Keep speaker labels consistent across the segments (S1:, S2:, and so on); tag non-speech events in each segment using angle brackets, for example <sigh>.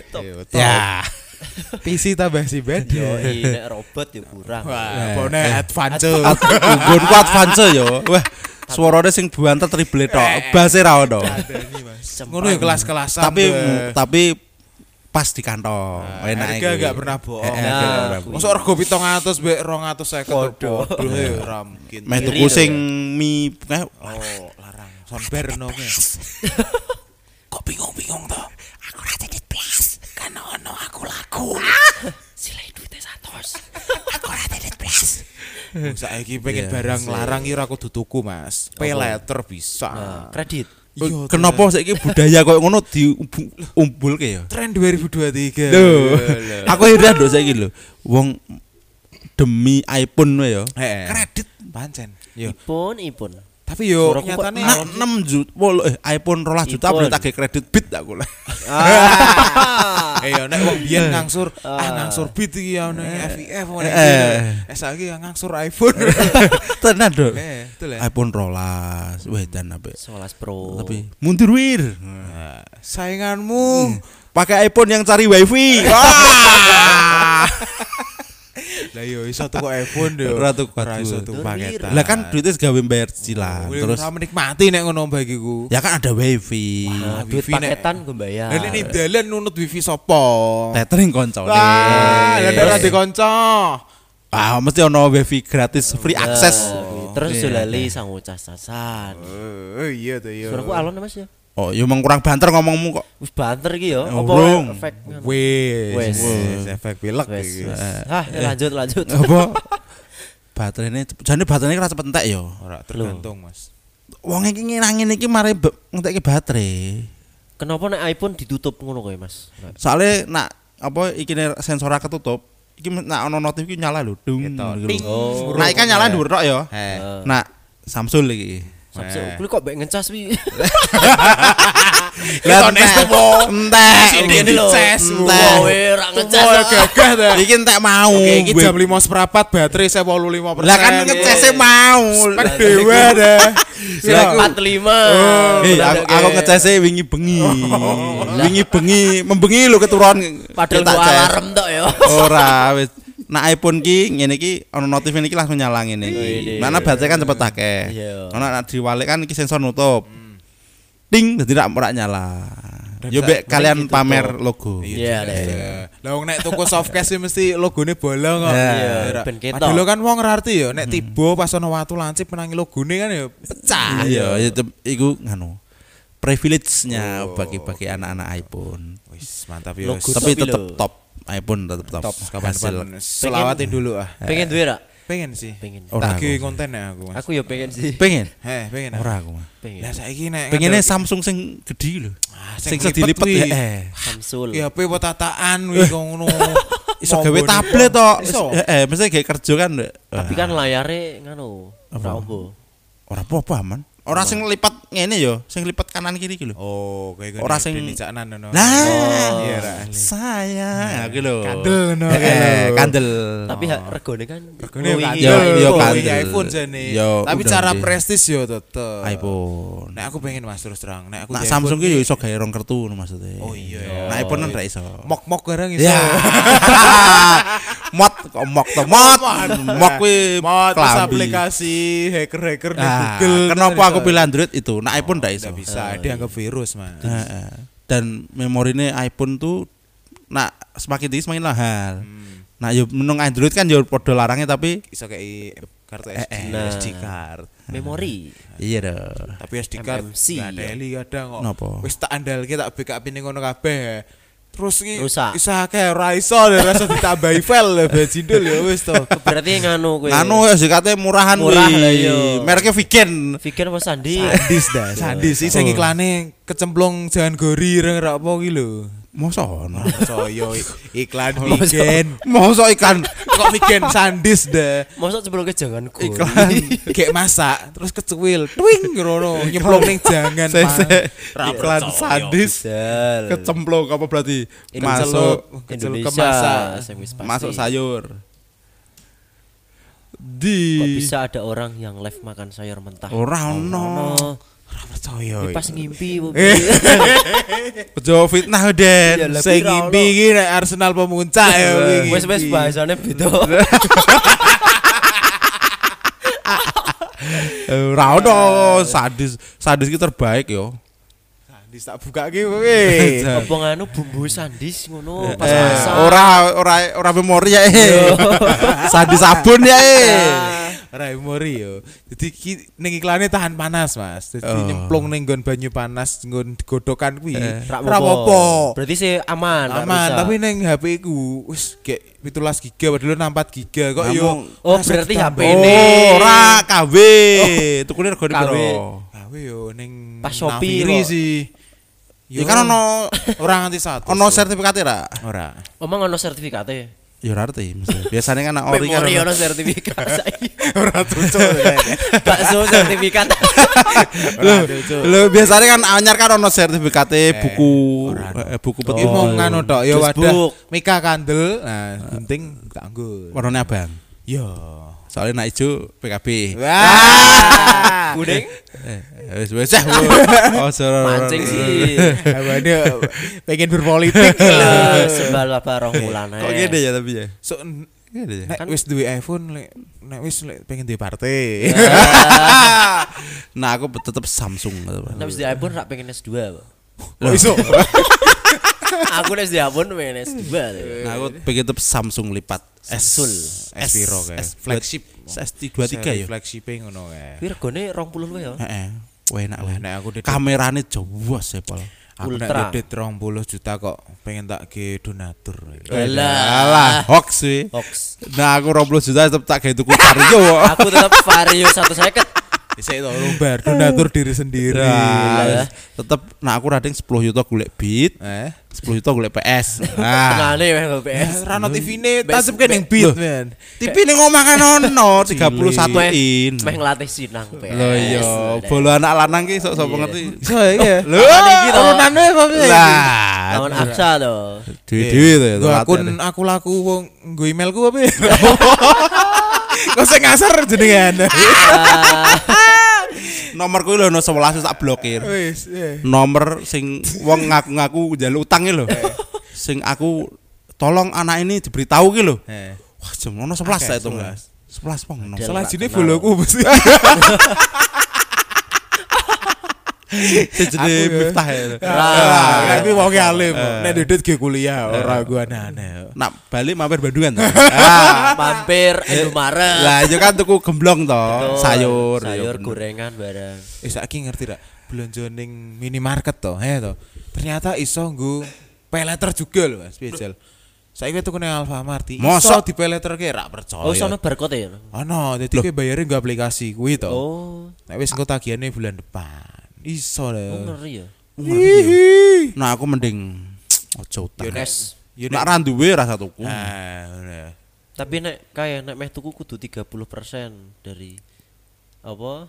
S1: Iya,
S2: Ya. PC tambah si band.
S1: <laughs>
S3: Yo, nek robot yo kurang.
S1: Wah,
S2: Eh.
S1: pone advance.
S4: Unggun ku advance yo. Wah, suarane sing buantet triple
S1: Eh,
S4: tok, base ra ono.
S1: Ngono ya kelas-kelasan.
S4: Tapi
S1: deh.
S4: tapi pas di kantor. Enak
S1: Nah, harga
S4: iku.
S1: gak pernah bohong.
S4: Eh, eh, harga gak pernah bohong.
S1: Masa rego 700 mbek 250
S3: Podo.
S1: Bodoh ya ora mungkin.
S4: Meh
S3: Iri
S4: tuku
S3: to
S4: sing mi eh,
S1: Oh, larang. Samber no kowe.
S4: kok bingung-bingung to. Aku ra jadi blas. Kan ono aku lagu. Silai duitnya satos. Aku ra jadi blas.
S1: Saiki
S4: Iya,
S1: pengen barang larang ya ora kudu tuku, Mas. Pay letter bisa.
S3: Nah, kredit.
S4: Eh,
S1: Iya,
S4: Kenapa saiki budaya koyo ngono diumbulke ya?
S1: tren 2023?
S4: Loh. Aku heran lho saiki lho. Wong demi iPhone wae ya.
S1: Heeh.
S4: Kredit
S1: Pancen.
S3: Ipun, ipun.
S1: Tapi yo
S3: Suaraku kok
S1: nyatane
S4: nak 6 juta, wolo, eh, iPhone 12 juta
S3: iPhone.
S4: belum tagih kredit bit aku lah.
S1: Ah.
S3: <laughs>
S1: Eh ya nek wong biyen ngangsur, ah ngangsur beat iki ya nek FIF
S4: Eh.
S1: nek. iki. Eh saiki ya ngangsur
S4: <laughs>
S1: iPhone.
S4: <laughs> Tenan dong.
S1: Eh, betul ya.
S4: iPhone 12, weh dan apa?
S3: 11 Pro.
S4: Tapi mundur wir.
S1: Sainganmu.
S4: Pakai iPhone yang cari
S1: Eh.
S4: wifi.
S1: Lah yo iso tuku iPhone yo.
S4: Ora tuku
S1: Ora iso
S4: aku.
S1: tuku
S3: Lur,
S1: paketan.
S4: Lah kan duitnya segawe bayar cicilan.
S1: Wih,
S4: Terus
S1: ora menikmati nek ngono bagi ku.
S4: ya kan ada wifi.
S3: Nah, duit
S1: wifi nek-
S3: paketan Eh, gue bayar.
S4: Ya.
S1: Lah ini dalan nunut wifi sopo?
S4: Tethering koncone.
S1: Wah, ya lah ora dikonco.
S4: Ah, mesti ono wifi gratis free access.
S3: Terus
S4: Iya.
S3: sulali sang ucas-casan.
S1: Oh iya to yo.
S3: Suaraku alon Mas ya.
S4: Oh, yo meng kurang banter ngomongmu kok.
S3: Wis banter iki ya.
S4: Oh,
S3: Apa
S4: urung.
S3: efek ngono?
S1: Wes,
S3: Wes.
S1: wes, efek pilek
S3: Wes.
S1: iki.
S3: wes. Hah, ya
S1: Eh.
S3: lanjut lanjut.
S4: Apa? <laughs> Baterainya, jadi baterainya kerasa pentek yo.
S1: Ora tergantung, Mas.
S4: Wong iki ngilangin iki mari be- ngentekke baterai.
S3: Kenapa nek iPhone ditutup ngono kowe Mas? Nah,
S4: Soale nak apa iki sensor ketutup, iki men- nak ono notif iki nyala lho. Dung. gitu.
S1: Oh.
S4: Nah, iki kan nyala dhuwur tok ya.
S1: Heh.
S4: Nak Samsul iki.
S1: Eh.
S3: Samsung, kuwi kok mbek ngecas wi. <laughs>
S4: Lah
S1: Kita nes tuh,
S4: entek.
S1: Sini ini dices,
S4: Entek.
S1: wow.
S3: ora ngecas.
S1: Wah, gagah ta.
S4: Iki entek mau.
S1: Oke, iki
S4: Weh.
S1: jam 5 seperempat baterai 85%.
S4: Lah kan ngecese mau.
S1: Spek dewa
S4: <laughs>
S1: dah.
S4: Lah aku-
S3: 45.
S4: Eh, Iya. aku, aku ngecese wingi bengi. wingi bengi, membengi lho keturun.
S3: padahal
S4: Tak
S3: gua
S4: ces.
S3: alarm tok ya.
S4: Ora wis. Nah iPhone ki ngene ki ono notif ini ki langsung nyala ngene
S3: Wih,
S4: iki. Mana baterai kan cepet akeh.
S3: Oh, Iya.
S4: Ono nak diwalik kan iki sensor nutup. Ting dadi rak ora nyala. Yo mbek kalian pamer logo.
S3: Iya, deh.
S1: Lah wong nek tuku softcase sih mesti logone bolong kok.
S4: Iya, Hmm.
S1: Rak.
S3: ben ketok.
S1: Padahal kan wong ora arti ya nek tiba pas ono watu lancip menangi logone kan ya pecah.
S4: Iya, ya tep- iku nganu privilege-nya
S3: Oh.
S4: bagi-bagi anak-anak iPhone.
S1: Wis mantap ya.
S3: Logo
S1: wis.
S4: Tapi
S3: tapi
S4: tetep
S3: lho.
S4: top iPhone tetep top.
S1: Top
S4: Hasil.
S1: kapan-kapan. Selawatin dulu ah.
S3: <laughs> Pengen duwe ra?
S1: Pengen sih.
S3: Pengen.
S4: Ora
S1: Tak
S4: aku.
S1: ge konten ya aku. Mas.
S3: Aku ya pengen sih.
S4: Pengen.
S1: Heh, pengen. ah.
S4: Ora aku mah.
S3: Pengen.
S1: Lah saiki nek
S4: Pengennya
S1: ngadep-
S4: Samsung sing gede lho.
S1: Ah,
S4: Sing
S1: sing
S4: iso dilipet
S1: dilipet kuwi.
S4: ya. eh.
S3: Samsul.
S1: Ya apa tataan wih kok ngono. <laughs>
S4: Iso gawe
S1: Monggone.
S4: tablet tok.
S1: Iso.
S4: Heeh, mesti gawe kerja kan. Dek.
S3: Tapi kan layare ngono. Ora
S4: Apa?
S3: ombo.
S4: ora apa-apa aman. Ora sing lipat ngene yo, sing lipat kanan kiri iki lho.
S1: Oh, kayak
S4: Ora sing-
S1: dinicanan ngono.
S4: Nah,
S1: iya, Ra. Nah,
S4: saya iki lho.
S1: Kandel ngono
S4: Eh,
S1: kayak
S4: eh,
S1: lho. Nah,
S4: kandel.
S3: Tapi ha- regone kan
S1: Regone
S3: Oh,
S1: kandel.
S3: iki.
S4: Yo, yo
S1: Oh,
S4: kandel.
S1: iki iPhone jane.
S4: Yo,
S1: Tapi
S4: udah
S1: cara
S4: deh.
S1: prestis yo tetep.
S4: iPhone.
S1: Nek aku pengen Mas terus terang. Nek aku
S4: Nak
S1: di
S4: Samsung
S1: ya, iPhone
S4: ki yo iso gawe rong kertu ngono maksudnya.
S1: Oh, iya, ya.
S4: Nak iPhone kan ra iso.
S1: ki mok-mok barang iso.
S4: Ya. <laughs> Mot kok mok to mot.
S1: <laughs>
S4: Mok kuwi
S1: Mod terus
S4: klambi.
S1: aplikasi hacker-hacker di
S4: Ah,
S1: Google.
S4: kenapa
S1: terus
S4: aku
S1: iso.
S4: pilih Android itu? Nah, iPhone ndak iso.
S1: Nggak bisa, dianggap virus, Mas.
S4: Heeh. Dan memorinya iPhone tuh nak semakin tinggi semakin mahal.
S1: Hmm.
S4: Nah, yo menung Android kan yo podo larangnya tapi
S1: Iso kayak kartu SD,
S3: Nah.
S1: SD card.
S3: memori.
S4: iya dong.
S1: Tapi SD card
S3: MMC.
S1: nggak ada eli kadang kok.
S4: Napa?
S1: Wis tak andalke tak backup ini ngono kabeh. Terus ki
S3: Rusak.
S1: iso akeh ora iso lho, langsung ditambahi file lho, bajindul ya wis <laughs> to.
S3: Berarti ngono kowe.
S4: Anu ya katanya murahan
S3: Murah
S4: wih.
S3: lah, yo.
S4: Mereknya Viken.
S3: Pikir apa Sandi?
S1: Sandis dah, sandis sih sing iklane kecemplung jangan gori reng ra apa ki lho.
S4: Mosok ono.
S1: Soyo <laughs> iklan Vigen.
S4: Mosok ikan
S1: Kok Vigen sandis dah.
S3: Mosok sebelum ke jangan
S1: Oh,
S3: ku.
S1: Kayak masak terus kecuil, twing ngono nyemplung ning <laughs> jangan.
S4: Se- se-
S1: Ra
S4: iklan
S1: percaya.
S4: sadis kecemplung apa berarti
S1: Kecelup,
S4: masuk
S1: kecelup
S3: Indonesia.
S1: ke masak.
S3: saya Ah, wis pasti.
S4: masuk sayur
S3: Kok
S4: di
S3: bisa ada orang yang live makan sayur mentah?
S4: Ora ono.
S3: Ono.
S1: Ora
S3: Ini
S1: percaya.
S3: Pas ngimpi Bu.
S1: Ojo fitnah,
S3: Ya,
S1: Den.
S3: lah,
S1: Sing
S3: pira,
S1: ngimpi iki nek Arsenal pemuncak ya wingi.
S3: Wes wes bahasane beda.
S1: Eh, Ora ono sadis. Sadis ki terbaik yo. Sadis tak Nah, buka ki
S3: <laughs>
S1: kowe.
S3: Apa nganu bumbu sandis ngono pas
S1: Eh,
S4: oh,
S3: masak.
S1: ora ora ora memori ya.
S4: <laughs>
S1: eh. Sadis sabun ya. eh. Ora memori yo. Dadi ki ning iklane tahan panas, Mas. Dadi
S4: Oh.
S1: nyemplung ning nggon banyu panas nggon godokan kuwi.
S3: Eh, Ra
S1: Ora apa-apa.
S3: Berarti sih aman. ra
S1: aman
S3: rusak.
S1: tapi neng HP ku wis gek 17 giga padahal 64 giga kok yo Nah,
S4: Ngomong.
S3: Oh berarti HP ini. Oh,
S1: oh ora KW tukune regane
S3: KW.
S1: piro KW Oh. Nah, yo ning
S3: Pas Shopee
S1: Naviri
S3: kok.
S1: sih
S4: Ya kan ono
S1: orang nganti satu
S4: ono sertifikate ra?
S1: ora
S3: Omong ono sertifikatnya.
S4: Ya ora arti. maksudnya. Biasanya kan anak ori kan
S3: Memori
S4: ono-
S3: ono
S4: <laughs>
S3: sertifikat saiki.
S4: ora ya, tuco.
S3: Bakso
S4: <laughs>
S3: sertifikat.
S4: Lho, lho biasanya kan anyar kan ono sertifikate buku eh, buku
S3: Oh.
S4: peti
S1: iki mau ngono tok
S4: ya,
S1: yo wadah
S3: Facebook.
S1: Mika kandel nah gunting tak anggur
S4: warnane abang. Iya.
S1: yo
S4: Soalnya nak ijo PKB.
S1: wah kuning
S4: Eh, Wis <laughs> wis. eh, Oh, sora-
S3: Mancing sih.
S1: <laughs> abane pengen berpolitik
S3: Eh, Sebal apa roh mulane.
S4: Kok gede ya tapi ya.
S1: so
S4: Gede ya.
S1: nek wis duwe iPhone lek nek wis lek pengen duwe partai <laughs>
S4: <laughs> Nah, aku tetep Samsung.
S3: Nek wis di iPhone rak pengen S2. Pak.
S1: Loh, iso
S3: Aku nek wis di iPhone pengen S2.
S4: Nah, aku pengen tetep Samsung lipat.
S3: Samsul.
S1: S piro kae?
S4: S flagship. S23 ya.
S1: flagship ngono kae.
S3: Kuwi regane 20 luwe ya.
S4: Heeh. Wah, enak
S1: Lah
S4: lah.
S1: nek aku dedit
S4: Kamerane jewas ya, Pol.
S1: aku nek
S3: Ultra.
S1: dedit 30 juta kok pengen tak ge donatur.
S4: Eh,
S1: Eh,
S3: Ah.
S4: Alah, hoax sih.
S3: Hoax.
S4: Nah, aku 20 juta tetep tak gawe tuku Vario. kok.
S3: Aku tetap Vario 150.
S1: Dhisik to lombar donatur diri sendiri.
S4: Nah,
S1: Iya.
S4: tetep nah aku rating 10 juta golek beat,
S1: Eh.
S4: 10 juta golek PS. Nah,
S3: Tenane weh PS.
S1: Rano TV-ne tasep ke ning beat, men.
S4: TV ning omah kan ono 31 in.
S3: Meh ngelatih sinang PS.
S4: Lho iya, bolo anak lanang ki sok sapa ngerti.
S1: So iya.
S4: Lho,
S1: turunane apa
S4: Lah,
S3: Lawan Aksa to.
S4: dhewe-dhewe to Iya. ya.
S1: Gua Iya. akun aku laku wong nggo emailku apa ya? <laughs> Kok sing ngasar
S4: <laughs>
S1: Iya, jenengan.
S4: nomorku lho ono 11 wis tak blokir.
S1: Wis, eh.
S4: Nomor sing wong ngaku-ngaku njaluk utang ki lho. Sing aku tolong anak ini diberitahu ki lho.
S1: Eh.
S4: Wah, jam ono 11 saya
S1: Akeh,
S4: itu. 11 pong. nom.
S3: Ada.
S1: Salah
S3: Nggak
S1: jine
S3: kenal.
S1: boloku
S4: <laughs>
S1: mesti.
S4: Sejene
S1: Aku ya.
S4: Miftah ya. iya.
S1: Lah, tapi wong alim.
S4: Eh.
S1: Nek dudut ge kuliah ora gua aneh.
S4: Nak balik mampir Bandungan <laughs> to. Ah.
S3: Mampir anu Indomaret.
S4: Lah, yo kan tuku gemblong to,
S3: Betul.
S4: sayur.
S3: Oh,
S4: iya,
S3: sayur
S4: Yo.
S3: gorengan bareng.
S1: Eh saiki ngerti ra? Belanja ning minimarket to, he to. Ternyata iso nggo peleter juga lho Mas Bijal. Saiki tuku ning Alfamart iso
S4: Mosok?
S1: di peleter ke ra percaya.
S3: Oh, sono barcode ya.
S1: Ono, dadi kowe bayare nggo aplikasi kuwi to.
S3: Oh,
S1: Nek wis engko tagihane bulan depan.
S4: Oh,
S1: Iso lho.
S3: ngeri ya.
S1: Hihi.
S4: Nah, aku mending ojo utang.
S1: Yo nek
S3: Yes.
S1: yo
S4: Nak
S1: nek
S4: ra duwe rasa tuku.
S1: Ah, ngono.
S3: Tapi nek kaya nek meh tuku kudu 30% dari apa?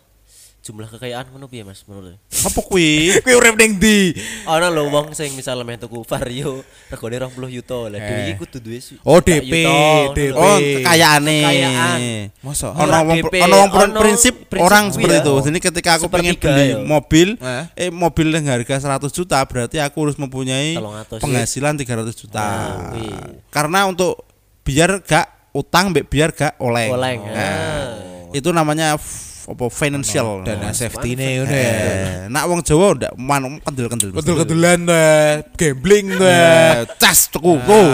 S3: Jumlah kekayaan ngono piye Mas menurut?
S4: Apa <laughs> kuwi?
S1: Kowe urip ning ndi?
S3: Ana lho wong sing misalnya meh tuku Vario regane 20 juta lah. Dewe iki kudu duwe su-
S1: Oh,
S3: sak
S1: DP,
S3: yuta, ngono
S1: DP.
S3: lho.
S4: Oh, kekayaane.
S3: Kekayaan.
S1: Mosok
S4: Ono wong
S3: DP,
S4: ono wong
S3: ono
S4: prinsip
S3: prinsip
S4: orang
S3: kuwi
S4: seperti
S3: ya.
S4: itu. Jadi ketika aku pengen
S3: Sepertiga
S4: beli
S3: ya.
S4: mobil,
S1: Eh.
S4: eh mobil dengan harga 100 juta berarti aku harus mempunyai
S3: 300.
S4: penghasilan 300 juta.
S3: Ah, wih.
S4: Karena untuk biar gak utang mbek biar gak oleng.
S3: Oleng.
S4: Nah,
S3: Ah.
S4: Itu namanya f- apa financial. Nah,
S1: dana safety ne ngono ya.
S4: Eh, nak wong Jawa ndak man kendel-kendel.
S1: Kedul-kedulan teh, ya. gambling ya. teh.
S4: Eh, Cas tuku. <laughs> tuh.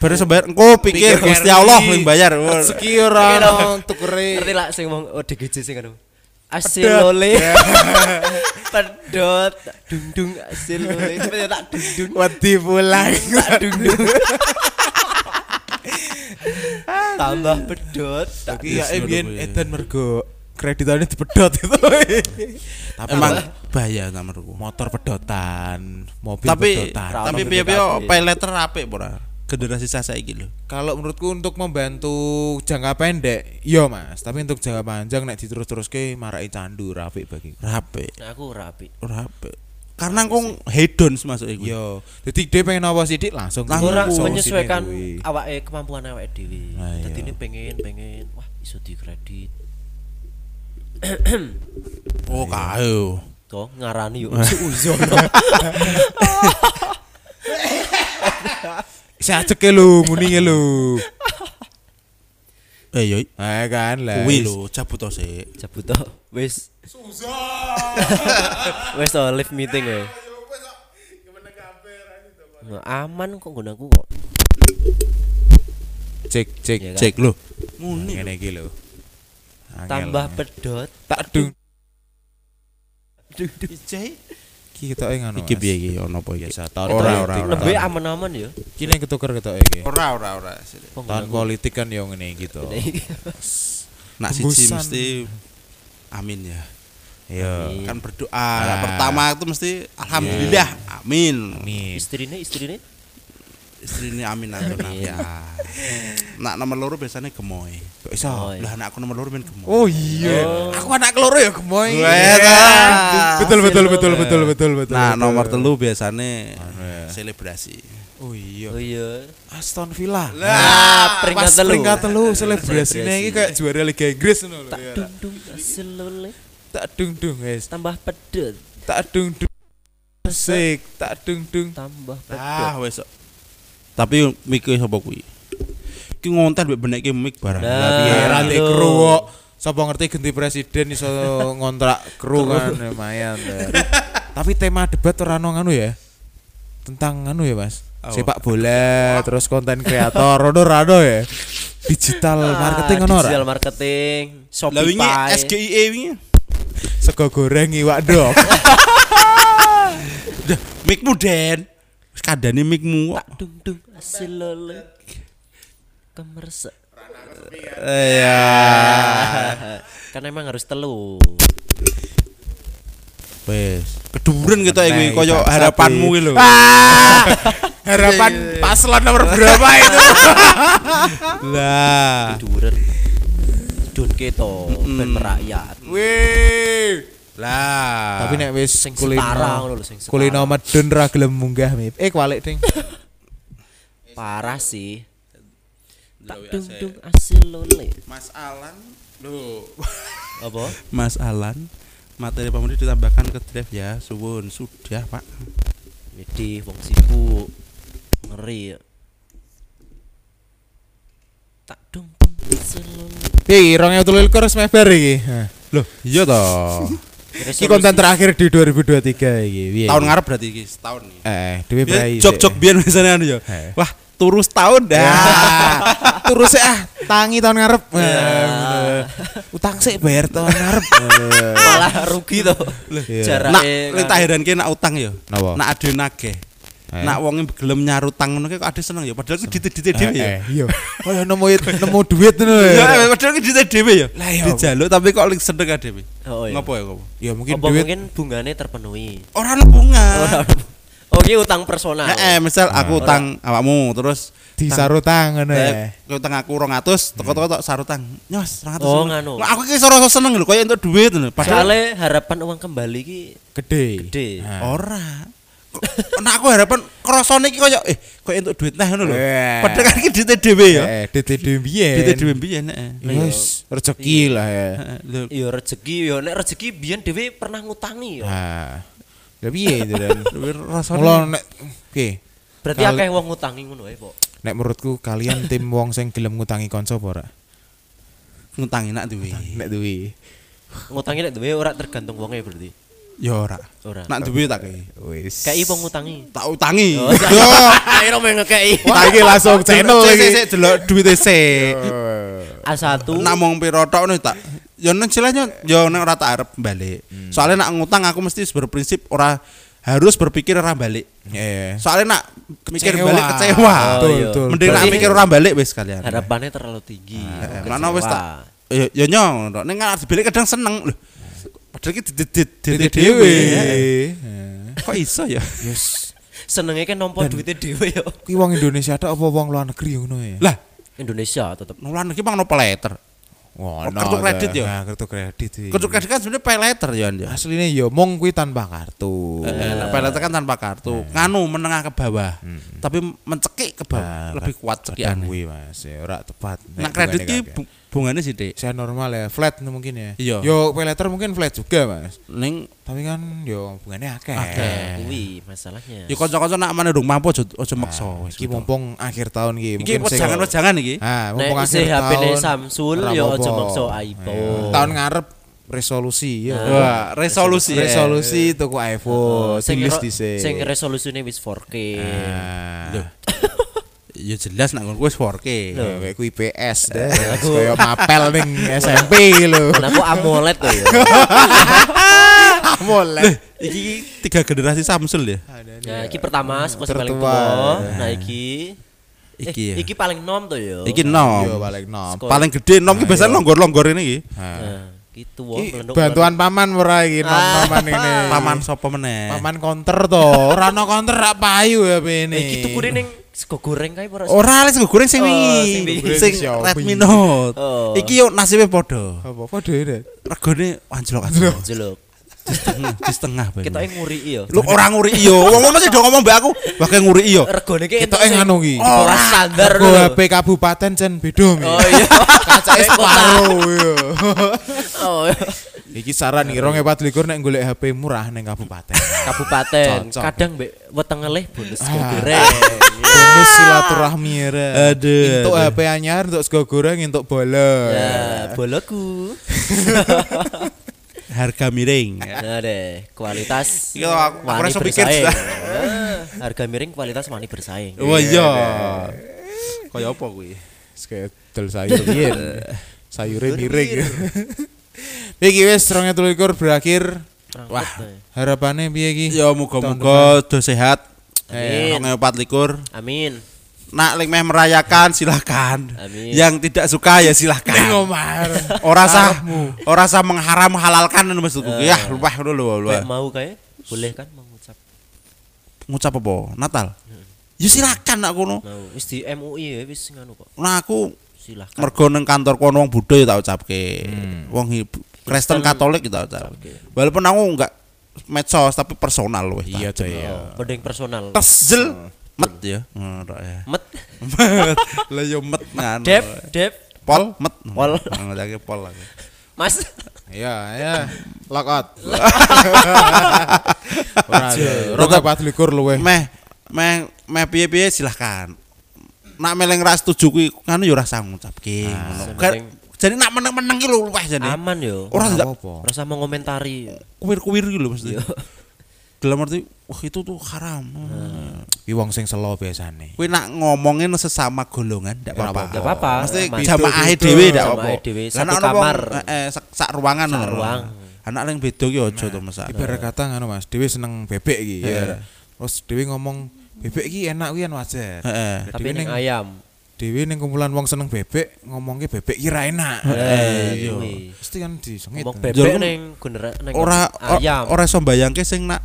S4: Baru sembayar engko pikir
S1: Pikir
S4: Gusti
S1: Kerli.
S4: Allah yang bayar.
S1: Rezeki ora
S3: Oke, dong.
S1: ono tukere.
S3: Ngerti lah sing oh, wong ODGJ sing ngono. Asilole. <laughs> Pedot. Dungdung asilole. Cepet ya, tak dungdung.
S1: Wedi <laughs> pulang.
S3: Tak
S1: ya.
S3: dungdung. Tambah pedot. tak-
S1: Tapi ya
S4: Yes, Iya, ngono
S1: biyen
S4: kuwi.
S1: edan mergo kreditannya dipedot
S4: <laughs>
S1: itu. Tapi
S4: Emang bahaya nomorku.
S1: motor pedotan, mobil
S4: Tapi
S1: pedotan.
S4: tapi
S3: Rame
S4: piye-piye
S3: PKB.
S4: peleter apik ora? Generasi saya saiki lho.
S1: Kalau menurutku untuk membantu jangka pendek, yo mas. Tapi untuk jangka panjang nek diterus-terus ke marai candu rapi bagi.
S4: Ora apik,
S3: Nah, Aku rapi.
S4: ora apik. Iya, Karena engko hedon masuk iku.
S1: Yo, jadi dia pengen apa sidik langsung.
S4: Langsung
S3: Ora
S4: Aku
S3: menyesuaikan
S1: sini kuwi.
S3: awake kemampuan awake dhewe.
S1: Nah,
S3: Dadi
S1: iya.
S3: ini pengen pengen wah iso dikredit.
S4: Oh, kae.
S3: Toh ngarani yuk Suzon.
S1: Sajeke lu, muni lu.
S4: Eh, yo
S1: Eh kan lah.
S4: kuwi lho, cabut to sik.
S3: Cabut toh. Wis. <laughs> Wes toh live meeting ya. Nah, aman kok nggon aku kok.
S1: Cek cek
S3: Iya kan?
S1: cek lu.
S4: Ngene.
S1: Ngene iki lho. Angel.
S3: Tambah pedot.
S1: tak dung.
S3: Ijai.
S1: Iki ketoke ngono.
S4: Iki
S1: Mas.
S4: piye iki ya, ono apa iki?
S1: Biasa tahun
S4: Ora,
S1: politik.
S4: ora, ora.
S3: Lebih aman-aman ya.
S1: Iki nek ketuker ketoke iki.
S4: Ora ora ora.
S1: Tahun politik kan yo ngene iki to.
S3: Iya.
S4: Nak siji
S1: Tembusan.
S4: mesti amin ya.
S1: Yo.
S4: Kan berdoa. Nah, pertama itu mesti alhamdulillah. Amin.
S1: Amin.
S3: <laughs> Istrine, istrine.
S4: Istri ini amin amin.
S3: Amin.
S4: Ya. Nak nomor loro biasanya gemoy.
S1: Kok iso?
S3: Oh, iya.
S4: Lah anak aku nomor loro ben gemoy.
S1: Oh iya. Aku anak keloro ya gemoy.
S4: Weh,
S1: Iya.
S4: ah.
S1: Betul betul betul betul betul betul.
S4: Nah,
S1: betul.
S4: nomor telu biasanya
S1: ya.
S4: selebrasi.
S1: Oh iya.
S3: Oh iya.
S1: Aston
S4: Ah,
S1: Villa.
S3: Nah, peringkat
S1: Pas
S3: telu.
S1: peringkat telu selebrasine
S3: Selebrasi.
S1: iki kayak juara Liga Inggris ngono lho.
S3: Tak
S1: ya.
S3: dundung selole
S1: Tak dung dung guys.
S3: tambah pedot.
S1: Tak dung dung. Sik, tak dung dung.
S3: Tambah pedot.
S4: Ah, wes. Tapi mikir sapa kuwi? Ki ngonten mbek benekke mic barang.
S3: Nah.
S4: Lah, piye?
S1: Era
S3: iya.
S1: di kru kok. Sapa ngerti ganti presiden iso ngontrak kru kan lumayan. ya. Tapi tema debat ora ono anu ya. Tentang anu ya, Mas.
S4: Apa?
S1: Sepak bola, terus konten kreator, ono rado ya. Digital marketing ono
S3: Ah,
S1: ora?
S3: Digital marketing.
S4: Lah
S3: Shopee.
S4: wingi SGIE E wingi.
S1: Sego goreng iwak
S3: <laughs>
S1: dok.
S4: Dah, micmu Den. Wis Kandhane micmu kok.
S3: dung dung selole. Kemerse.
S4: Iya.
S3: Kan emang harus telu.
S4: Wes. Keduren kita
S1: Meneh,
S4: iki koyo
S1: bangsat
S4: harapanmu iki Ah! lho. <laughs>
S1: Harapan paslon nomor berapa itu?
S4: Lah.
S3: Duren. Dun keto ben merakyat.
S1: Wih.
S4: Lah.
S1: Tapi nek wis
S3: Sing setara
S1: kulino
S3: ngono lho sing setara.
S1: kulino medun ra gelem munggah mip. Eh kwalik ding.
S3: Parah sih. Tak dung dung asilole.
S4: ya Mas Alan
S3: Apa?
S4: <laughs> Mas Alan materi pemudi ditambahkan ke drive ya suwun sudah pak
S3: Wedi wong sibuk. Ngeri. Tak dung dung asilole.
S1: Piye 2023 wis mebar iki. Hah. Loh,
S4: iya toh
S1: <laughs> iki konten terakhir di 2023 iki. Piye?
S4: tahun ngarep Iya, berarti iki setahun nih
S1: Eh, dhewe
S4: biar
S1: prai.
S4: jok
S1: <laughs>
S4: jok biar misalnya anu ya
S1: Eh.
S4: wah turu setahun dah <laughs>
S1: Terus ah, tangi tahun ngarep.
S4: Iya.
S1: Eh, Utang sik bayar tahun ngarep. Eh,
S3: malah rugi toh.
S1: iya.
S3: Jarak
S4: nak li tak heran ki nak utang ya
S1: Napa?
S4: nak ade nage
S1: Eh.
S4: nak wonge gelem nyarutang ngono ki kok ade seneng ya padahal ki ditit-ditit dhewe ya
S1: eh, Iya. Oh, ya nemu nemu duit ngono
S4: Ya,
S1: ya.
S4: padahal ki ditit dhewe ya
S1: Lah, ya.
S4: dijaluk tapi kok li seneng ade
S3: iya, Oh, iya.
S4: ngopo ya ngopo
S1: Ya mungkin
S3: mungkin
S1: duit
S3: mungkin bungane terpenuhi. <laughs>
S4: ora ana bunga
S3: Oh, ini utang personal.
S1: Nah, eh,
S4: Heeh, misal aku utang awakmu terus
S3: Eh,
S1: disarutan ngono ya.
S4: Kau tengah aku rong atus, toko-toko tok sarutang. Nyos, rong atus.
S3: Oh,
S4: ngono.
S3: nganu.
S4: Lah, Aku kayak soro seneng lho, kayak untuk duit lho. Padahal
S3: Soalnya harapan uang kembali ki
S1: Gede.
S3: gede.
S4: ora. Kok- Nah aku harapan kerosone iki koyo eh koyo untuk duit nah ngono lho.
S1: Eh.
S4: Padahal kan iki duit dhewe ya.
S1: Eh, DTD mbiyen.
S4: Duit dhewe mbiyen eh. heeh.
S1: Yes, rezeki Iya, lah ya.
S4: Heeh, eh, lho.
S3: Iya rezeki, ya nek rezeki biyen dhewe pernah ngutangi ya.
S1: Ah. Ya piye itu dan.
S4: Duit rasane-
S1: Mula nek oke,
S3: Berarti
S1: Kali-
S3: akeh wong ngutangi ngono ae, Pok.
S1: nek menurutku kalian tim wong sing gelem ngutangi kanca apa ora?
S4: ngutangi nak duwe.
S1: Nek duwe.
S3: Ngutangi nek duwe ora tergantung wonge berarti.
S4: Ya ora.
S3: Ora.
S1: Nah,
S4: Nak duwe tak kei.
S1: Wis.
S3: Kei wong ngutangi.
S4: Tak utangi.
S3: Oh,
S4: Yo,
S3: <laughs> Ayo mung ngekei.
S1: Wah, iki langsung channel
S4: sik, sik,
S1: iki.
S4: sik, delok duwite sik.
S3: A1
S1: Nah,
S4: Nak mong piro tok ngono tak. Ya nek istilahnya ya nek ora tak arep balik.
S1: Hmm.
S4: Soalnya nak ngutang aku mesti berprinsip ora harus berpikir ora balik.
S1: Eh.
S4: Soalnya nak mikir balik kecewa.
S3: Oh,
S1: Betul,
S3: iya.
S1: betul.
S4: Mending nak
S3: Berarti-
S4: mikir ora balik wis kalian.
S3: harapannya terlalu tinggi.
S1: Ah, iya.
S4: Eh,
S3: Kecewa.
S4: Mana wis tak. Ya ya nyong, tok. ning kan balik kadang seneng lho. Padahal ki didit
S1: DTD
S4: didit dhewe.
S1: Eh.
S4: <laughs> Kok iso ya?
S1: Yes.
S3: Senenge kan nompo duitnya dhewe ya.
S1: Ki wong Indonesia tok apa wong luar negeri ngono ya?
S4: Lah,
S3: Indonesia
S1: Eh.
S3: tetep.
S4: nulan iki mang no pay letter.
S1: Wah,
S4: Kartu oh, kredit ya?
S1: Nah, kartu kredit. iki.
S4: Kudu kadang kan sebenarnya pay letter ya Andi.
S1: asline ya mong kuwi tanpa kartu.
S4: Nah. Eh, Pay letter kan tanpa kartu. Nganu menengah ke bawah. Tapi mencekik ke bawah, lebih kuat
S1: Kadang
S4: cekian.
S1: kuwi Mas, ya ora tepat.
S4: Nah, kredit ki
S1: bu
S4: bu- bungane sithik.
S1: saya normal ya, flat mungkin ya.
S4: Iya.
S1: Yo, pay letter mungkin flat juga, Mas.
S4: Ning
S1: Tapi kan yo hubungannya akeh.
S4: Akeh.
S3: Nah, kuwi masalahnya.
S4: ya kanca-kanca nak mana dong mampu aja aja maksa wis. gitu.
S1: Iki mumpung akhir tahun
S4: Iki
S1: iki. sing-
S4: wejangan-wejangan iki.
S1: Ah,
S3: Nek
S1: mumpung akhir
S3: isih HP ne
S1: tahun.
S3: Samsung
S1: ora
S3: ya aja
S1: apa-apa.
S3: maksa iPhone. Ah,
S1: Iya. Tahun ngarep resolusi ya.
S4: Wah, resolusi. ya.
S1: Resolusi tuku iPhone,
S3: Eh. Oh, sing
S1: tulis
S3: ro-
S1: dhisik. Ah,
S3: sing resolusine wis 4K.
S1: Nah.
S4: Loh. Ya jelas nak ngono kuwi 4K.
S1: Ya, kayak ku IPS
S3: Eh,
S1: deh, kaya mapel ning SMP lho.
S3: Nah, aku AMOLED tuh
S1: <laughs>
S3: ya.
S1: Mulai.
S4: Iki tiga generasi Samsung ya.
S3: Nah, iki pertama saka sing paling
S1: Iya. Tertua. Iya.
S3: tua. Nah, iki eh,
S4: Iki ya.
S3: iki paling nom tuh ya.
S4: Iki
S1: Yo
S4: nom.
S1: balik nom.
S3: Sekolah.
S4: Paling gede nom ki biasanya longgor-longgor ini iki.
S3: Nah, iki tuwa
S1: Iki
S3: melenduk.
S1: Bantuan paman ora iki
S3: Ah.
S1: nom paman ini.
S4: Paman sapa meneh?
S1: paman counter to. Ora ono counter rak payu ya ini.
S3: iki tukune ning sego goreng kae ora.
S4: Ora les goreng sing
S3: Oh, sing
S4: wingi.
S1: wingi.
S4: Sing
S1: Xiaomi.
S4: Redmi Note.
S3: Oh.
S4: Iki yo nasibe padha.
S1: apa kok dhewe.
S4: Regane anjlok-anjlok.
S3: Jeluk.
S4: Di setengah, di setengah bae.
S3: Ketoke nguriki ya.
S4: Lu orang nguri iyo, wong wong masih do ngomong mbak aku, pakai nguri iyo.
S3: Regone iki
S1: Kita yang anu iki.
S3: Di bawah standar
S1: Go
S3: lho.
S1: HP kabupaten cen beda mi.
S3: Oh iya.
S1: <laughs> Kacake separo
S4: iya.
S1: yo.
S3: Oh, iya.
S1: <laughs> Iki saran iki 2024 nek golek HP murah ning
S3: <laughs>
S1: kabupaten.
S3: kabupaten.
S1: Cocok.
S3: Kadang mbek wetenge leh bonus sego
S1: Ah.
S4: <laughs>
S3: goreng.
S1: Bonus silaturahmi ya.
S4: Aduh,
S1: Untuk
S4: aduh.
S1: HP anyar, untuk sego goreng, untuk bola.
S3: Ya,
S4: <laughs>
S3: boloku.
S4: Harga miring.
S3: Nah deh, kualitas.
S4: Iya, aku- aku
S3: wani
S4: langsung pikir,
S3: bersaing.
S4: Sa.
S3: Ah, Harga miring kualitas wani bersaing.
S4: Wah iya. Kaya apa kuwi?
S1: Skedel sayur
S4: Iya.
S1: piye? Sayure miring. <laughs> Iki wis 2023 berakhir.
S3: Wah,
S1: Harapannya piye iki?
S4: Ya muga-muga do sehat. Eh,
S3: Amin.
S4: 2024.
S3: amin.
S4: Nak link meh merayakan silakan.
S3: Amin.
S4: Yang tidak suka ya silakan. <laughs>
S1: Omar.
S4: Orang sah, orang sah mengharam halalkan maksudku. Ya, lupa
S3: Mek
S4: dulu lu.
S3: mau kayak boleh kan mengucap
S4: Ngucap apa? Natal. Ya silakan nak kono.
S3: mau. Wis di MUI ya wis nganu kok.
S4: Nah aku
S3: Silahkan.
S4: mergo neng kantor kono wong Buddha ya tak ucapke. Wong Hi- Hmm. Kristen Katolik ya tak ucap. Walaupun aku enggak medsos tapi personal weh.
S1: Iya coy. iya.
S3: Oh, Mending personal.
S4: Tesjel met ya. Ngono tok Hmm. ya.
S3: Met,
S4: Met. <laughs> Lah yo met ngono.
S3: Dev, Dev,
S4: pol met.
S3: Pol.
S4: Ngajake pol aku.
S3: Mas.
S1: Iya, iya. Lock
S3: <laughs>
S1: out. Ora. Rokok pat likur luwe.
S4: Meh meh meh piye-piye silahkan. Nak meleng ras setuju kuwi ngono yo ora sang ngucapke ngono.
S3: Ah, Sing
S4: Kan-
S3: penting-
S4: Jadi nak meneng-meneng ki lho luweh jane.
S3: Aman yo.
S4: Ora tidak
S1: apa-apa.
S3: Rasa mau komentari.
S4: kuwir-kuwir gitu loh maksudnya. Dalam arti wah itu tuh haram.
S3: Ah.
S1: Ki wong sing selo biasane.
S4: Kuwi nak ngomongin sesama golongan ndak
S1: Nggak
S4: apa-apa.
S3: Gak apa-apa.
S4: Mesti
S3: Mas.
S4: jamaah
S1: Beda-beda.
S4: dhewe ndak apa-apa.
S3: Jamaah dhewe,
S4: Lah,
S3: satu
S4: nek ana wong,
S3: kamar.
S4: eh, eh, sak, sak ruangan
S3: Sak
S4: ngono.
S3: ruang.
S4: Anak ning beda ki aja to masalah.
S1: Ibarat kata ngono Mas, dhewe seneng bebek iki. ya. Terus dhewe ngomong bebek iki enak kuwi kan wajar.
S4: Heeh.
S1: Lah,
S3: Tapi
S1: dhewe
S3: ning
S1: ning-
S3: ayam.
S1: Dewi neng kumpulan wong seneng bebek ngomongke bebek kira enak.
S3: Eh,
S1: Iya.
S3: iya.
S1: Mesti kan disengit.
S3: Ngomong
S4: Jol,
S3: bebek
S4: kan-
S3: ning genera ning
S4: Ora or-
S3: ayam.
S4: ora iso mbayangke sing nak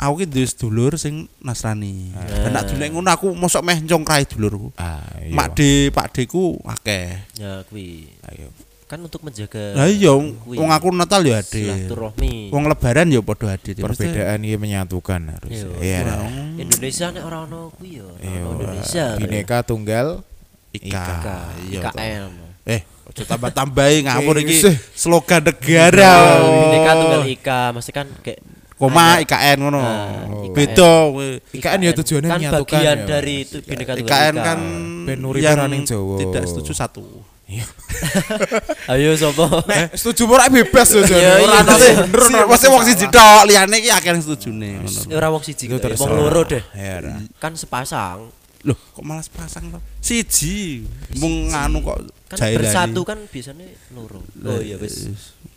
S4: aku ki duwe sedulur sing Nasrani.
S3: Eh.
S4: Lah, Nek dulek ngono aku mosok meh njongkrai dulurku.
S1: Ah, iya.
S4: Mak de Pak Deku akeh.
S3: Ya kuwi.
S1: Ayo.
S3: Kan untuk menjaga
S4: Lah iya
S3: kuwi.
S4: wong aku Natal ya ade.
S3: silaturahmi.
S4: Wong lebaran ya padha ade. Mesti-
S1: Perbedaan ini menyatukan harus.
S3: Iya.
S1: Iya.
S3: Indonesia nek ora ono kuwi ya.
S1: Iya.
S3: Ono Indonesia.
S1: Bineka tunggal ah,
S4: Ika.
S3: Ika.
S4: Iya,
S3: IKN.
S4: Eh, aja tambah-tambahi ngawur
S1: Eh,
S4: iki
S1: sih.
S4: slogan negara.
S3: Bineka tunggal Ika, mesti kan kayak
S4: Koma IKN ngono.
S3: Ah,
S4: Beda kuwi.
S1: IKN ya tujuannya
S3: kan
S1: menyatukan
S3: bagian
S1: ya,
S3: dari
S1: Mas.
S3: itu Bineka tunggal
S4: IKN kan
S1: Ben Nuri
S4: yang
S1: Peraning Jawa.
S4: tidak setuju satu.
S3: <laughs> Ayo sapa?
S1: Eh, Setuju ora bebas loh
S3: Iya,
S1: Jan.
S3: iya.
S1: Ora
S4: Ora
S1: ada
S4: sih,
S1: sing bener ora
S4: mesti
S1: sing
S4: wong siji tok, liyane iki akeh yang setujune ngono.
S3: Ora wong siji,
S1: Itu
S3: wong
S1: terserah.
S3: loro deh.
S1: Iya, ora.
S3: Kan sepasang.
S4: Loh, kok malah sepasang to? Siji. Mung nganu kok
S3: Kan
S4: jailani.
S3: bersatu kan biasanya loro. Oh iya wis.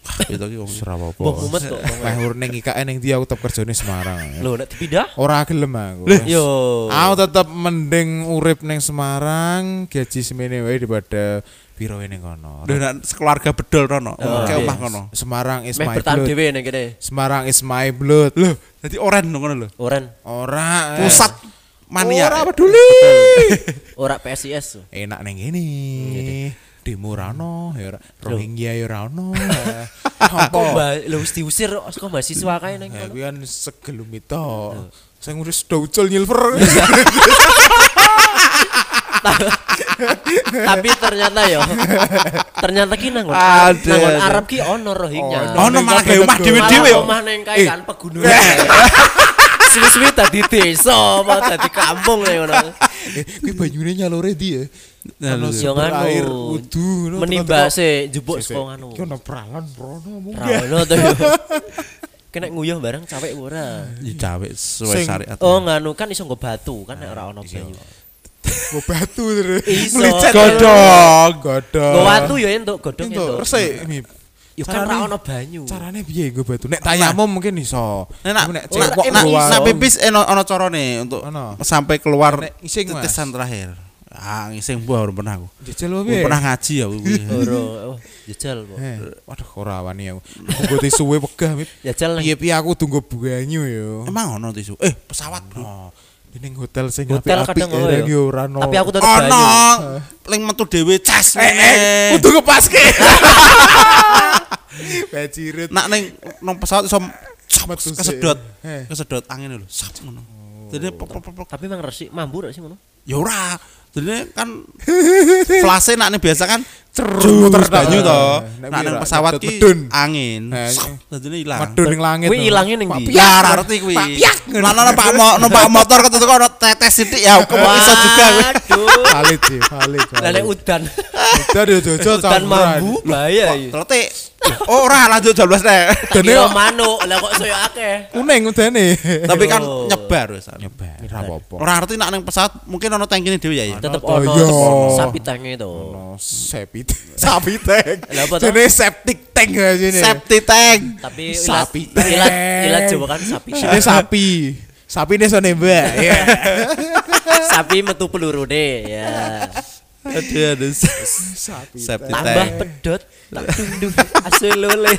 S4: Wah, Itu ki wong.
S1: Ora apa-apa.
S3: Mbok mumet kok. wong.
S1: Meh urne IKN ning dia aku tetep kerjane Semarang.
S3: Lho nek dipindah?
S1: Ora gelem aku.
S3: Yo.
S1: Aku tetep mending urip ning Semarang gaji semene wae daripada biroe ning kono.
S4: Duh, nak sekeluarga bedol rono. Kayak
S3: iya.
S4: omah kono.
S1: Semarang is
S3: Meh
S1: my
S3: bertahan
S1: blood.
S3: dhewe ning kene.
S1: Semarang is my blood. Loh,
S4: Dadi oren ngono lho.
S3: Oren.
S1: ora eh.
S4: Pusat mania.
S1: Ora peduli.
S3: Ora PSIS. tuh.
S1: Enak ning ngene. Demo ra ono, ya ora. Rohingya ya ora ono.
S3: Ah, Kok
S1: Apa?
S3: mbak lho wis diusir kok kok mahasiswa kae ning
S1: Ya
S3: kono.
S1: kuwi kan segelum itu. Saya ngurus doucul nyilver.
S3: Tapi ternyata yo. Ternyata ki nang
S1: Aduh,
S3: nang
S1: aduh.
S3: Arab ki ono rohingnya.
S4: Ono malah gawe omah dhewe-dhewe
S3: Malah
S4: yo.
S3: omah neng
S1: Eh.
S3: kae kan pegunungan.
S1: <laughs>
S3: Suwi-suwi tadi desa, mau tadi kampung nih ono.
S1: <laughs> Eh, kuwi banyune nyalure ndi ya?
S4: Nyalure.
S1: Ono
S3: Yo
S1: sumber air
S3: nganu.
S1: wudu ngono,
S3: Menimba
S1: tengok-tengok.
S3: se jebuk
S1: Sik, sik.
S3: saka nganu.
S1: Ki ono peralan rono mung.
S3: Ra ono to yo. <laughs> Kena nguyuh bareng capek ora.
S4: Ya cawe sesuai
S1: Sing-
S4: syariat.
S3: Oh nganu kan iso nggo batu kan nek ora ono
S1: Iya.
S3: banyu.
S1: Go batu terus.
S3: Iso.
S1: Melicet. Godhong, godhong.
S3: Nggo watu yo entuk godhong
S1: Itu
S3: entuk.
S1: resik Mip.
S3: Yo kan
S1: Carane-
S3: ra ono banyu.
S1: Carane piye go batu? Nek tayamu mungkin iso.
S4: Nah,
S1: Tapi
S4: nak
S1: cewek
S4: nak
S1: kok
S4: nak-
S1: go
S4: nak
S1: warung.
S4: pipis eno ono corone untuk
S1: Ono.
S4: sampai keluar
S1: Nek ising, Mas.
S4: tetesan terakhir. Ah, ngising buah belum pernah aku.
S1: Jejel
S4: Belum
S1: piye?
S4: Pernah ngaji ya. aku.
S3: Ora, oh, jajal kok.
S1: Eh, Waduh, ora wani aku. Aku gote suwe wegah, Mip.
S3: Jajal nang
S1: Piye-piye aku tunggu banyu yo. Oh,
S4: Emang ono tisu. Eh, pesawat, Bro.
S1: Ini hotel sing
S3: hotel
S1: apik-apik
S3: kadang ngono
S1: ya,
S3: ya.
S1: yo ora ono.
S3: Tapi aku tetep
S4: Ono.
S3: banyu.
S4: Paling metu dhewe cas.
S1: Eh, eh,
S4: ngene.
S1: kudu ngepaske. <laughs> Bajirut.
S4: Nak ning nang pesawat iso
S1: Metu sik.
S4: kesedot.
S1: Eh. Oh.
S4: Kesedot angin lho. Sap ngono. Jadi pok pok pok, pok.
S3: Tapi emang resik, mambu rek sih ngono.
S4: Ya ora. Jadi
S1: <laughs>
S4: kan flase nak nih biasa kan cerut banyu to.
S1: Eh, nek
S4: Nak
S1: kuwi
S4: nang
S1: ra,
S4: pesawat
S1: medhun,
S4: ki
S1: medhun.
S4: angin.
S1: Eh,
S4: Jadi ilang.
S1: Medun ning langit.
S3: Kuwi
S1: lho.
S3: ilangnya ning ndi?
S4: Ya ora ngerti kuwi. Lah ana numpak mo- numpak motor ketutuk ono tetes sithik ya
S1: <laughs>
S4: kok iso juga kuwi.
S3: Aduh.
S1: valid sih, valid.
S3: Lah nek <laughs> udan,
S1: udah dia jojo
S3: udan mambu bahaya iki.
S4: Telote. Oh, ora lanjut jablas nek.
S1: Dan
S3: Kira
S1: ini-
S3: manuk, lah kok saya akeh.
S1: Kuning udane.
S4: Tapi kan
S3: Yo.
S4: nyebar wis.
S1: Nyebar, ora apa-apa.
S4: Ora ngerti nak ning pesawat mungkin ono tangkine dhewe ya ya.
S3: Tetep
S1: toh,
S3: ono
S1: yo.
S3: sapi tangi to.
S1: Ono sepit. Sapi tank. <laughs>
S3: Lah apa toh?
S1: Jenenge septic tank ya jenenge.
S4: Safety tank.
S3: Tapi
S1: Sapi
S3: ilat ilat,
S1: tank.
S3: ilat Jawa kan sapi.
S1: Jenenge sapi. Sapi ini so nembak. Iya.
S3: sapi metu peluru deh ya.
S4: Aduh, aduh.
S1: Sapi.
S4: Safety
S3: Tambah
S4: tank.
S3: pedot, tak tunduk asu lole.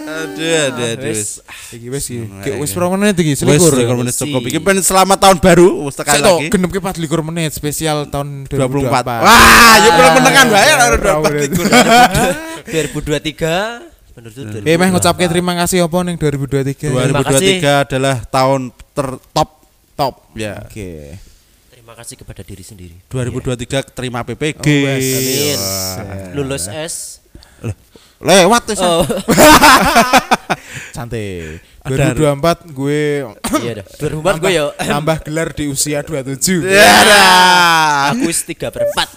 S4: Aduh, aduh, aduh.
S3: Wis.
S1: Iki wis iya. iki.
S4: Ngono
S1: Ki-
S4: ae,
S1: Wis
S4: iki.
S1: berapa menit iki?
S4: Wis
S1: Selikur.
S4: rekor menit
S3: Wis.
S4: cukup. Iki pengen selamat tahun baru wis sekali
S1: Sekali
S4: lagi.
S1: genep ki 24 menit spesial tahun
S4: 24.
S1: 2024.
S4: Wah, yo kula
S3: Ah,
S4: menengan bae ora
S1: berapa
S4: 24
S1: menit.
S4: likur.
S3: 2023 menurutku
S1: Eh meh ngucapke terima kasih apa ning 2023. ya?
S4: 2023 adalah tahun tertop top ya.
S1: Oke.
S3: Terima kasih kepada diri sendiri.
S4: 2023 terima PPG.
S1: Oh, wes.
S3: Amin.
S1: Wah.
S3: Lulus S.
S4: Lewat wis.
S3: Oh,
S1: Santai.
S4: Ada-
S1: 2024 gue
S3: iya dah. 2004 gue
S1: Nambah-
S3: yo.
S1: nambah gelar di
S3: <laughs>
S1: usia 27.
S3: iya.
S4: Ya.
S3: Aku wis 3 per 4.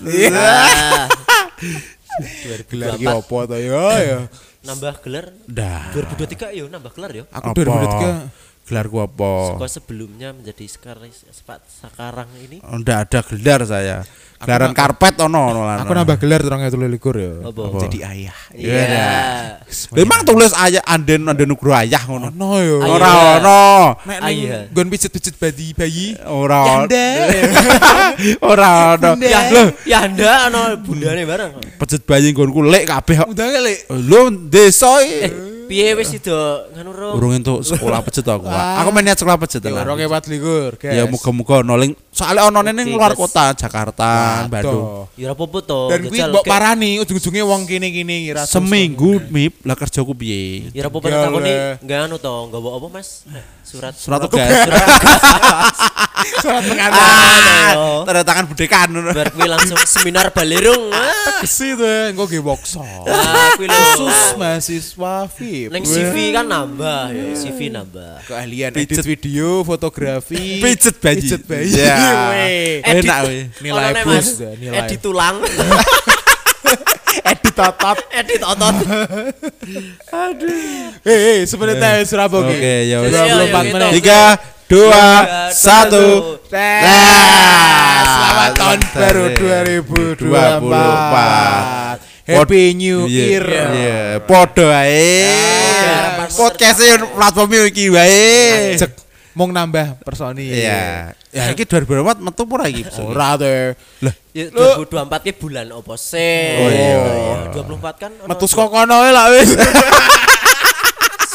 S1: Gelar ki opo to ya ya.
S3: Nambah gelar
S4: Dah.
S3: 2023 yo nambah gelar yo.
S1: Aku
S4: Apa?
S1: 2023
S4: Gelar gua apa?
S3: Kok sebelumnya menjadi sekarang sepa- sekarang ini
S4: Enggak ada gelar saya. Gelaran karpet ono ono lan.
S1: aku nambah gelar 2023 ya.
S3: apa?
S4: Jadi
S1: ayah.
S4: Iya. Memang tulis aja anden anden nugroho ayah ngono.
S1: Ono ya.
S3: Ayah.
S4: Ora ono.
S1: Nek
S3: Ayah.
S1: ning nggon pijet-pijet bayi bayi.
S4: Ora ono.
S1: Janda.
S4: <laughs> Ora ono.
S3: Ya,
S4: Loh,
S3: ya anda ano bundane bareng.
S4: pejet bayi nggonku lek kabeh kok.
S1: Udah kali.
S4: Lho, desa
S3: Eh,
S4: iki.
S3: piye wis sido nganu ro.
S4: Urung entuk sekolah pejet aku. Wak. Aku main niat sekolah pejet.
S1: Ya
S4: lah.
S1: ora 24, guys.
S4: Ya muga-muga noling. Soalnya ono neng
S3: Oke,
S4: luar
S3: guys.
S4: kota, Jakarta, Bandung.
S3: Ya ora apa-apa to.
S1: Dan kuwi
S3: jajal,
S1: mbok
S3: oke.
S1: parani ujung-ujunge wong kene-kene kira
S4: Seminggu mip lah kerjaku piye?
S3: Ya ora apa-apa
S1: Jajal,
S3: takoni
S1: eh.
S3: enggak anu to, enggak bawa apa Mas? Eh, Surat
S4: Surat tugas.
S1: surat pengantar.
S3: Ah,
S4: Tanda tangan budekan.
S3: Bar kuwi langsung seminar balerung. Ah,
S1: Kesi to eh, engko ge workshop.
S3: Ah, kuwi lho.
S1: Khusus <laughs> mahasiswa VIP.
S3: Neng CV kan nambah ya, CV nambah.
S1: keahlian edit video, fotografi,
S4: Pijet bayi.
S1: pijet bayi.
S4: Ya.
S1: Weh.
S3: Edit.
S4: Enak weh.
S1: Nilai
S3: Ono nek,
S1: plus,
S3: Mas.
S1: dah, nilai.
S3: Edit
S4: <laughs>
S3: tulang,
S1: edit tatap.
S3: edit otot.
S1: Eh, eh, sebenarnya tayo Surabaya.
S4: Oke, ya wis.
S3: Iya,
S1: 24
S3: iya,
S1: menit.
S3: gitu.
S4: Tiga, dua,
S3: Tiga,
S4: satu.
S3: satu.
S1: Tes. Selamat tahun baru 2024. Happy New Year.
S4: Iya, podo ae.
S3: Iya.
S4: Podcast e platform iki wae.
S1: Iya. Cek mau nambah personil.
S4: Iya. Ya iki 2024 metu pura iki.
S1: Ora teh. Lah,
S3: Ya, 2024 ki bulan opo sih?
S4: Oh, iya.
S3: Ya, 24 kan ono
S1: metu saka kono ae lah wis.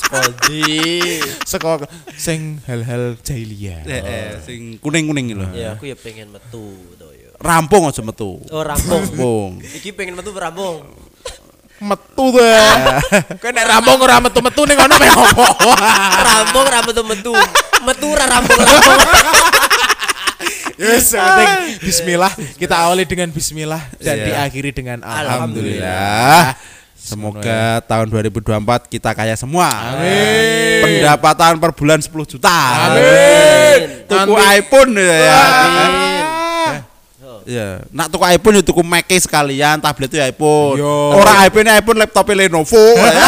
S3: saka ndi?
S1: Saka sing hal-hal jahiliyah.
S4: Heeh, Eh, sing kuning-kuning iki lho.
S3: Ya aku ya pengen metu to ya.
S4: Rampung aja metu.
S3: Oh
S4: <laughs>
S3: rampung.
S4: Rampung.
S3: Iki pengen metu rampung.
S1: Metu teh. Kowe nek rambung ora metu-metu ning kono meh opo?
S3: Rampung ra metu metu. Metu ra rampung rampung.
S1: Yes, yang penting bismillah. Kita awali dengan bismillah dan
S4: Iya.
S1: diakhiri dengan
S4: Alhamdulillah.
S1: alhamdulillah.
S4: Semoga tahun 2024 kita kaya semua. Amin. Pendapatan per bulan 10 juta.
S3: Amin.
S4: Tuku iPhone ya. ya.
S3: Amin.
S4: Ya. Nak tuku iPhone ya tuku Mac sekalian, tablet ya iPhone.
S1: Yo.
S4: Orang iPhone ya iPhone laptop Lenovo. ya.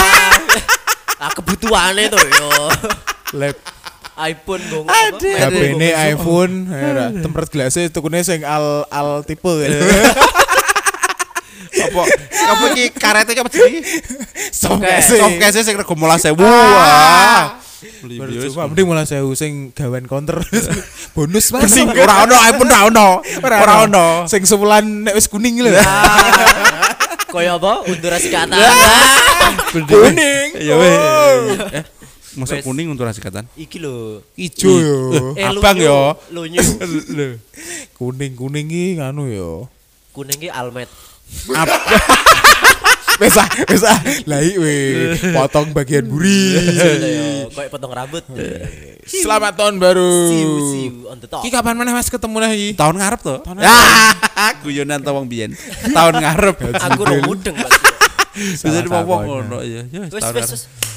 S3: Ah, kebutuhannya tuh yo. iya.
S1: Lab
S3: <laughs> iPhone gong. apa?
S4: Aduh.
S3: iPhone
S1: HP ini
S3: gong-
S4: <laughs>
S1: iPhone, tempat gelasnya tukune sing al al tipe.
S4: Eh,
S1: <laughs>
S4: Apa apa iki karete apa jenenge?
S1: Songkese.
S4: Soft case sing rego mola 1000. Wah. Beli bius.
S1: Percuma mending mulai sewu sing gawen
S4: <laughs>
S1: counter. Bonus mas. <laughs>
S4: Sing ora ono iPhone ora ono. Ora ono. Ya,
S1: Sing sebulan nek wis kuning lho. <laughs>
S3: Koyo apa? Undurasi kata.
S1: Kuning. Oh.
S4: Ya weh.
S3: Wes.
S4: Eh, Masuk kuning untuk nasi katan.
S3: Iki lho.
S1: Ijo yo.
S4: Eh, Abang
S3: lunyu,
S4: yo.
S3: Lunyu.
S1: Kuning-kuning iki nganu yo. <laughs>
S3: Kuning ki
S4: <laughs>
S3: almet.
S1: Wis ah, wis ah. Lah iya, weh. potong bagian
S4: <laughs>
S1: buri.
S3: Kayak Iya, potong rambut.
S4: Iya.
S1: Selamat tahun baru.
S3: Siu siu on the top.
S1: Ki kapan mana Mas ketemu lagi?
S4: Tahun ngarep to.
S1: Tahun
S4: Ah, <laughs> guyonan to wong biyen. Tahun ngarep.
S1: <laughs>
S3: Aku ro mudeng Mas.
S4: Bisa
S1: Salah
S4: diwong
S1: sakonya.
S4: ngono ya. Ya wis,
S3: Wis
S4: tahun
S3: wis
S4: ngarep.
S3: wis.